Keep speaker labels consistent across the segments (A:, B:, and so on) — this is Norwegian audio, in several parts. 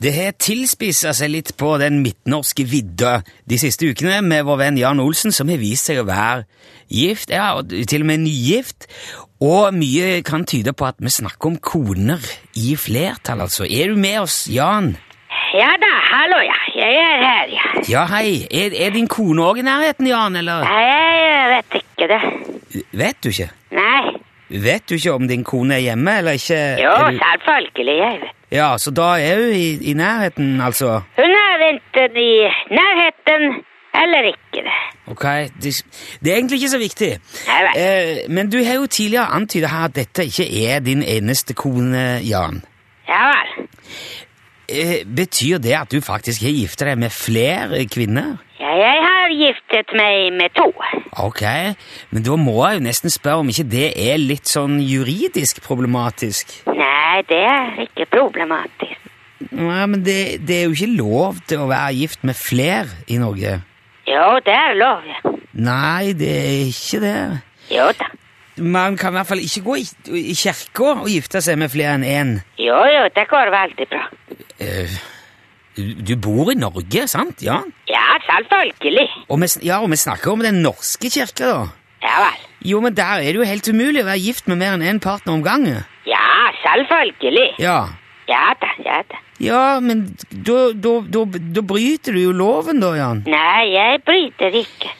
A: Det har tilspissa seg litt på den midtnorske vidda de siste ukene med vår venn Jan Olsen, som har vist seg å være gift, ja, og til og med nygift. Og mye kan tyde på at vi snakker om koner i flertall, altså. Er du med oss, Jan?
B: Ja da, hallo, ja. Jeg er her, ja.
A: Ja, hei. Er, er din kone òg i nærheten, Jan, eller?
B: Nei, jeg vet ikke det.
A: Vet du ikke?
B: Nei.
A: Vet du ikke om din kone er hjemme eller ikke?
B: Jo,
A: Er du...
B: selvfølgelig, jeg vet.
A: Ja, så da er hun i, i nærheten, altså.
B: Hun er enten i nærheten eller ikke det.
A: Ok, det, det er egentlig ikke så viktig.
B: Nei vel.
A: Eh, men du har jo tidligere antydet her at dette ikke er din eneste kone, Jan.
B: Ja vel.
A: Eh, betyr det at du faktisk har giftet deg med flere kvinner?
B: Ja, jeg har giftet meg med to.
A: Ok, men da må jeg jo nesten spørre om ikke det er litt sånn juridisk problematisk.
B: Nei, det er ikke problematisk.
A: Nei, men det, det er jo ikke lov til å være gift med flere i Norge.
B: Jo, det er lov, ja.
A: Nei, det er ikke det.
B: Jo da.
A: Man kan i hvert fall ikke gå i, i kirka og gifte seg med flere enn én.
B: Jo, jo, det går veldig bra.
A: Eh, du bor i Norge, sant? Ja.
B: Ja, selvfølgelig.
A: Og vi, sn- ja, og vi snakker om den norske kirka, da.
B: Ja vel.
A: Jo, men der er det jo helt umulig å være gift med mer enn én partner om gangen.
B: Ja, selvfølgelig.
A: Ja.
B: Ja da, ja da.
A: Ja, men da, da, da, da bryter du jo loven, da, Jan.
B: Nei, jeg bryter ikke.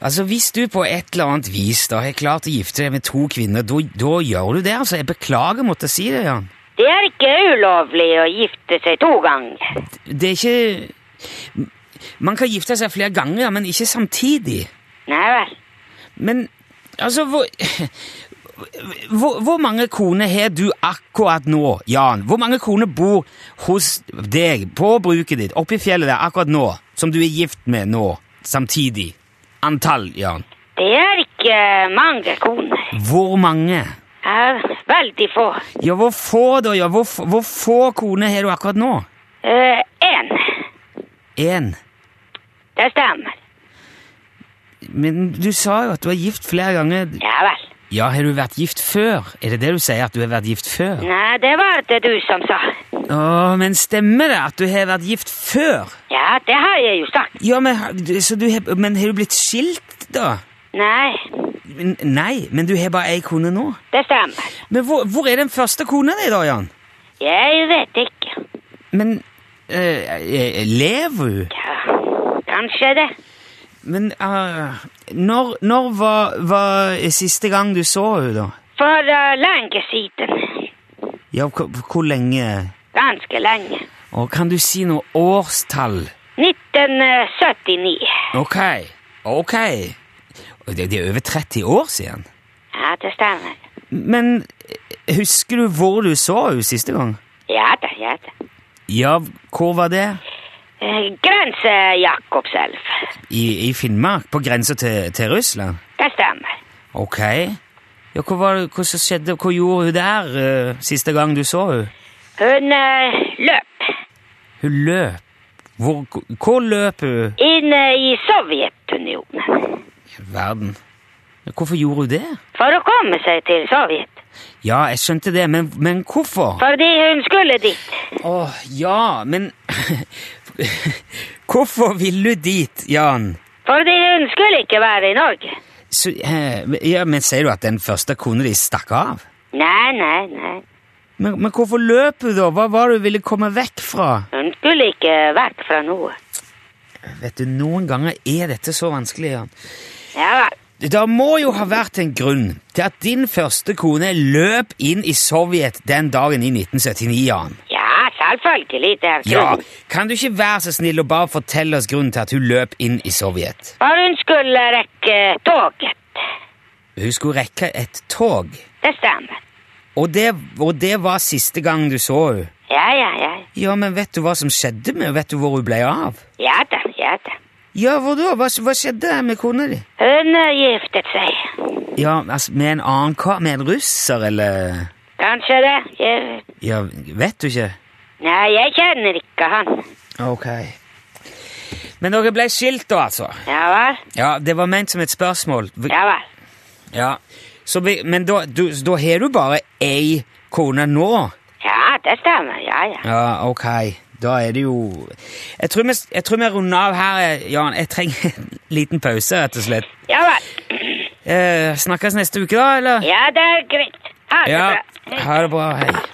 A: Altså, Hvis du på et eller annet vis da har klart å gifte deg med to kvinner, da da gjør du det. altså. Jeg beklager å måtte si det, Jan.
B: Det er ikke ulovlig å gifte seg to ganger.
A: Det er ikke Man kan gifte seg flere ganger, men ikke samtidig.
B: Nei vel.
A: Men altså Hvor, hvor, hvor mange koner har du akkurat nå, Jan? Hvor mange koner bor hos deg, på bruket ditt, oppe i fjellet der akkurat nå, som du er gift med nå, samtidig? Antall, Jan.
B: Det er ikke mange koner.
A: Hvor mange?
B: Det er veldig få.
A: Ja, hvor få, da? Ja, hvor, f- hvor få koner har du akkurat nå?
B: Eh, Én.
A: Én.
B: det stemmer.
A: Men du sa jo at du er gift flere ganger.
B: Ja vel.
A: Ja, har du vært gift før? Er det det du sier, at du har vært gift før?
B: Nei, det var det du som sa.
A: Å, men stemmer det at du har vært gift før?
B: Ja, det har jeg jo sagt.
A: Ja, men, har- du- så du, har- men har du blitt skilt, da?
B: Nei,
A: Men- Nei, men du har bare ei kone nå.
B: det stemmer.
A: Men hvor, hvor er den første kona di, da, Jan?
B: Jeg vet ikke.
A: Men eh, eh, Lever hun?
B: Ja, kanskje det.
A: Men eh, når, når var, var siste gang du så henne, da?
B: For eh, lenge siden.
A: Ja, hvor, hvor lenge?
B: Ganske lenge.
A: Og kan du si noe årstall?
B: eh, 1979.
A: Ok, ok. Og Det, det er over 30 år siden.
B: Ja, det stemmer.
A: Men eh, husker du hvor du så henne siste gang?
B: Ja da, ja da.
A: Ja, hvor var det?
B: Eh, Grense Jakobselv.
A: I, i Finnmark, på grensa til, til Russland?
B: Det stemmer.
A: Ok. Ja, hva, var, det- hva som skjedde, hva gjorde hun der eh, siste gang du så henne?
B: Hun eh, løp
A: Hun løp. Hvor, hvor løp hun?
B: inn eh, i Sovjetunionen
A: Verden. Ja, Hvorfor gjorde hun det?
B: for å komme seg til Sovjet.
A: Ja, jeg skjønte det, men, men hvorfor?
B: Fordi hun skulle dit.
A: Åh, ja, men Hvorfor ville du dit, Jan?
B: Fordi hun skulle ikke være i Norge.
A: Så, eh, ja, men Sier du at den første kona di stakk av?
B: Nei, nei, nei.
A: Men, men hvorfor løp hun, da? Hva var det hun ville komme vekk fra?
B: Hun skulle ikke vært fra noe.
A: Vet du, Noen ganger er dette så vanskelig, Jan.
B: Ja vel.
A: Det må jo ha vært en grunn til at din første kone løp inn i Sovjet den dagen i 1979, Jan.
B: Ja, selvfølgelig. Det er
A: Ja,
B: grunnen.
A: Kan du ikke være så snill og bare fortelle oss grunnen til at hun løp inn i Sovjet?
B: For hun skulle rekke eh, toget.
A: Hun skulle rekke et tog,
B: Det stemmer.
A: og det, og det var siste gang du så henne.
B: Ja, ja, ja.
A: Ja, men vet du hva som skjedde med henne? Vet du hvor hun ble av?
B: Ja da, ja da.
A: Ja, hvor da? Hva, hva skjedde med kona di?
B: Hun eh, giftet seg.
A: Ja, altså, Med en annen kar? Med en russer, eller
B: Kanskje det. Jeg...
A: Ja, vet du ikke?
B: Nei, jeg kjenner ikke han.
A: Ok. Men dere ble skilt, da, altså?
B: Ja vel?
A: Ja, det var ment som et spørsmål. Vi-
B: Ja vel.
A: Ja. Så vi, men da, du, da har du bare ei kone nå?
B: Ja, det stemmer. Ja, ja.
A: Ja, ok. Da er det jo Jeg tror vi, jeg tror vi runder av her, Jan. Jeg trenger en liten pause, rett og slett.
B: Ja vel.
A: Eh, snakkes neste uke, da, eller?
B: Ja, det er greit. Ha det
A: Ja.
B: bra.
A: Ha det bra. Hei.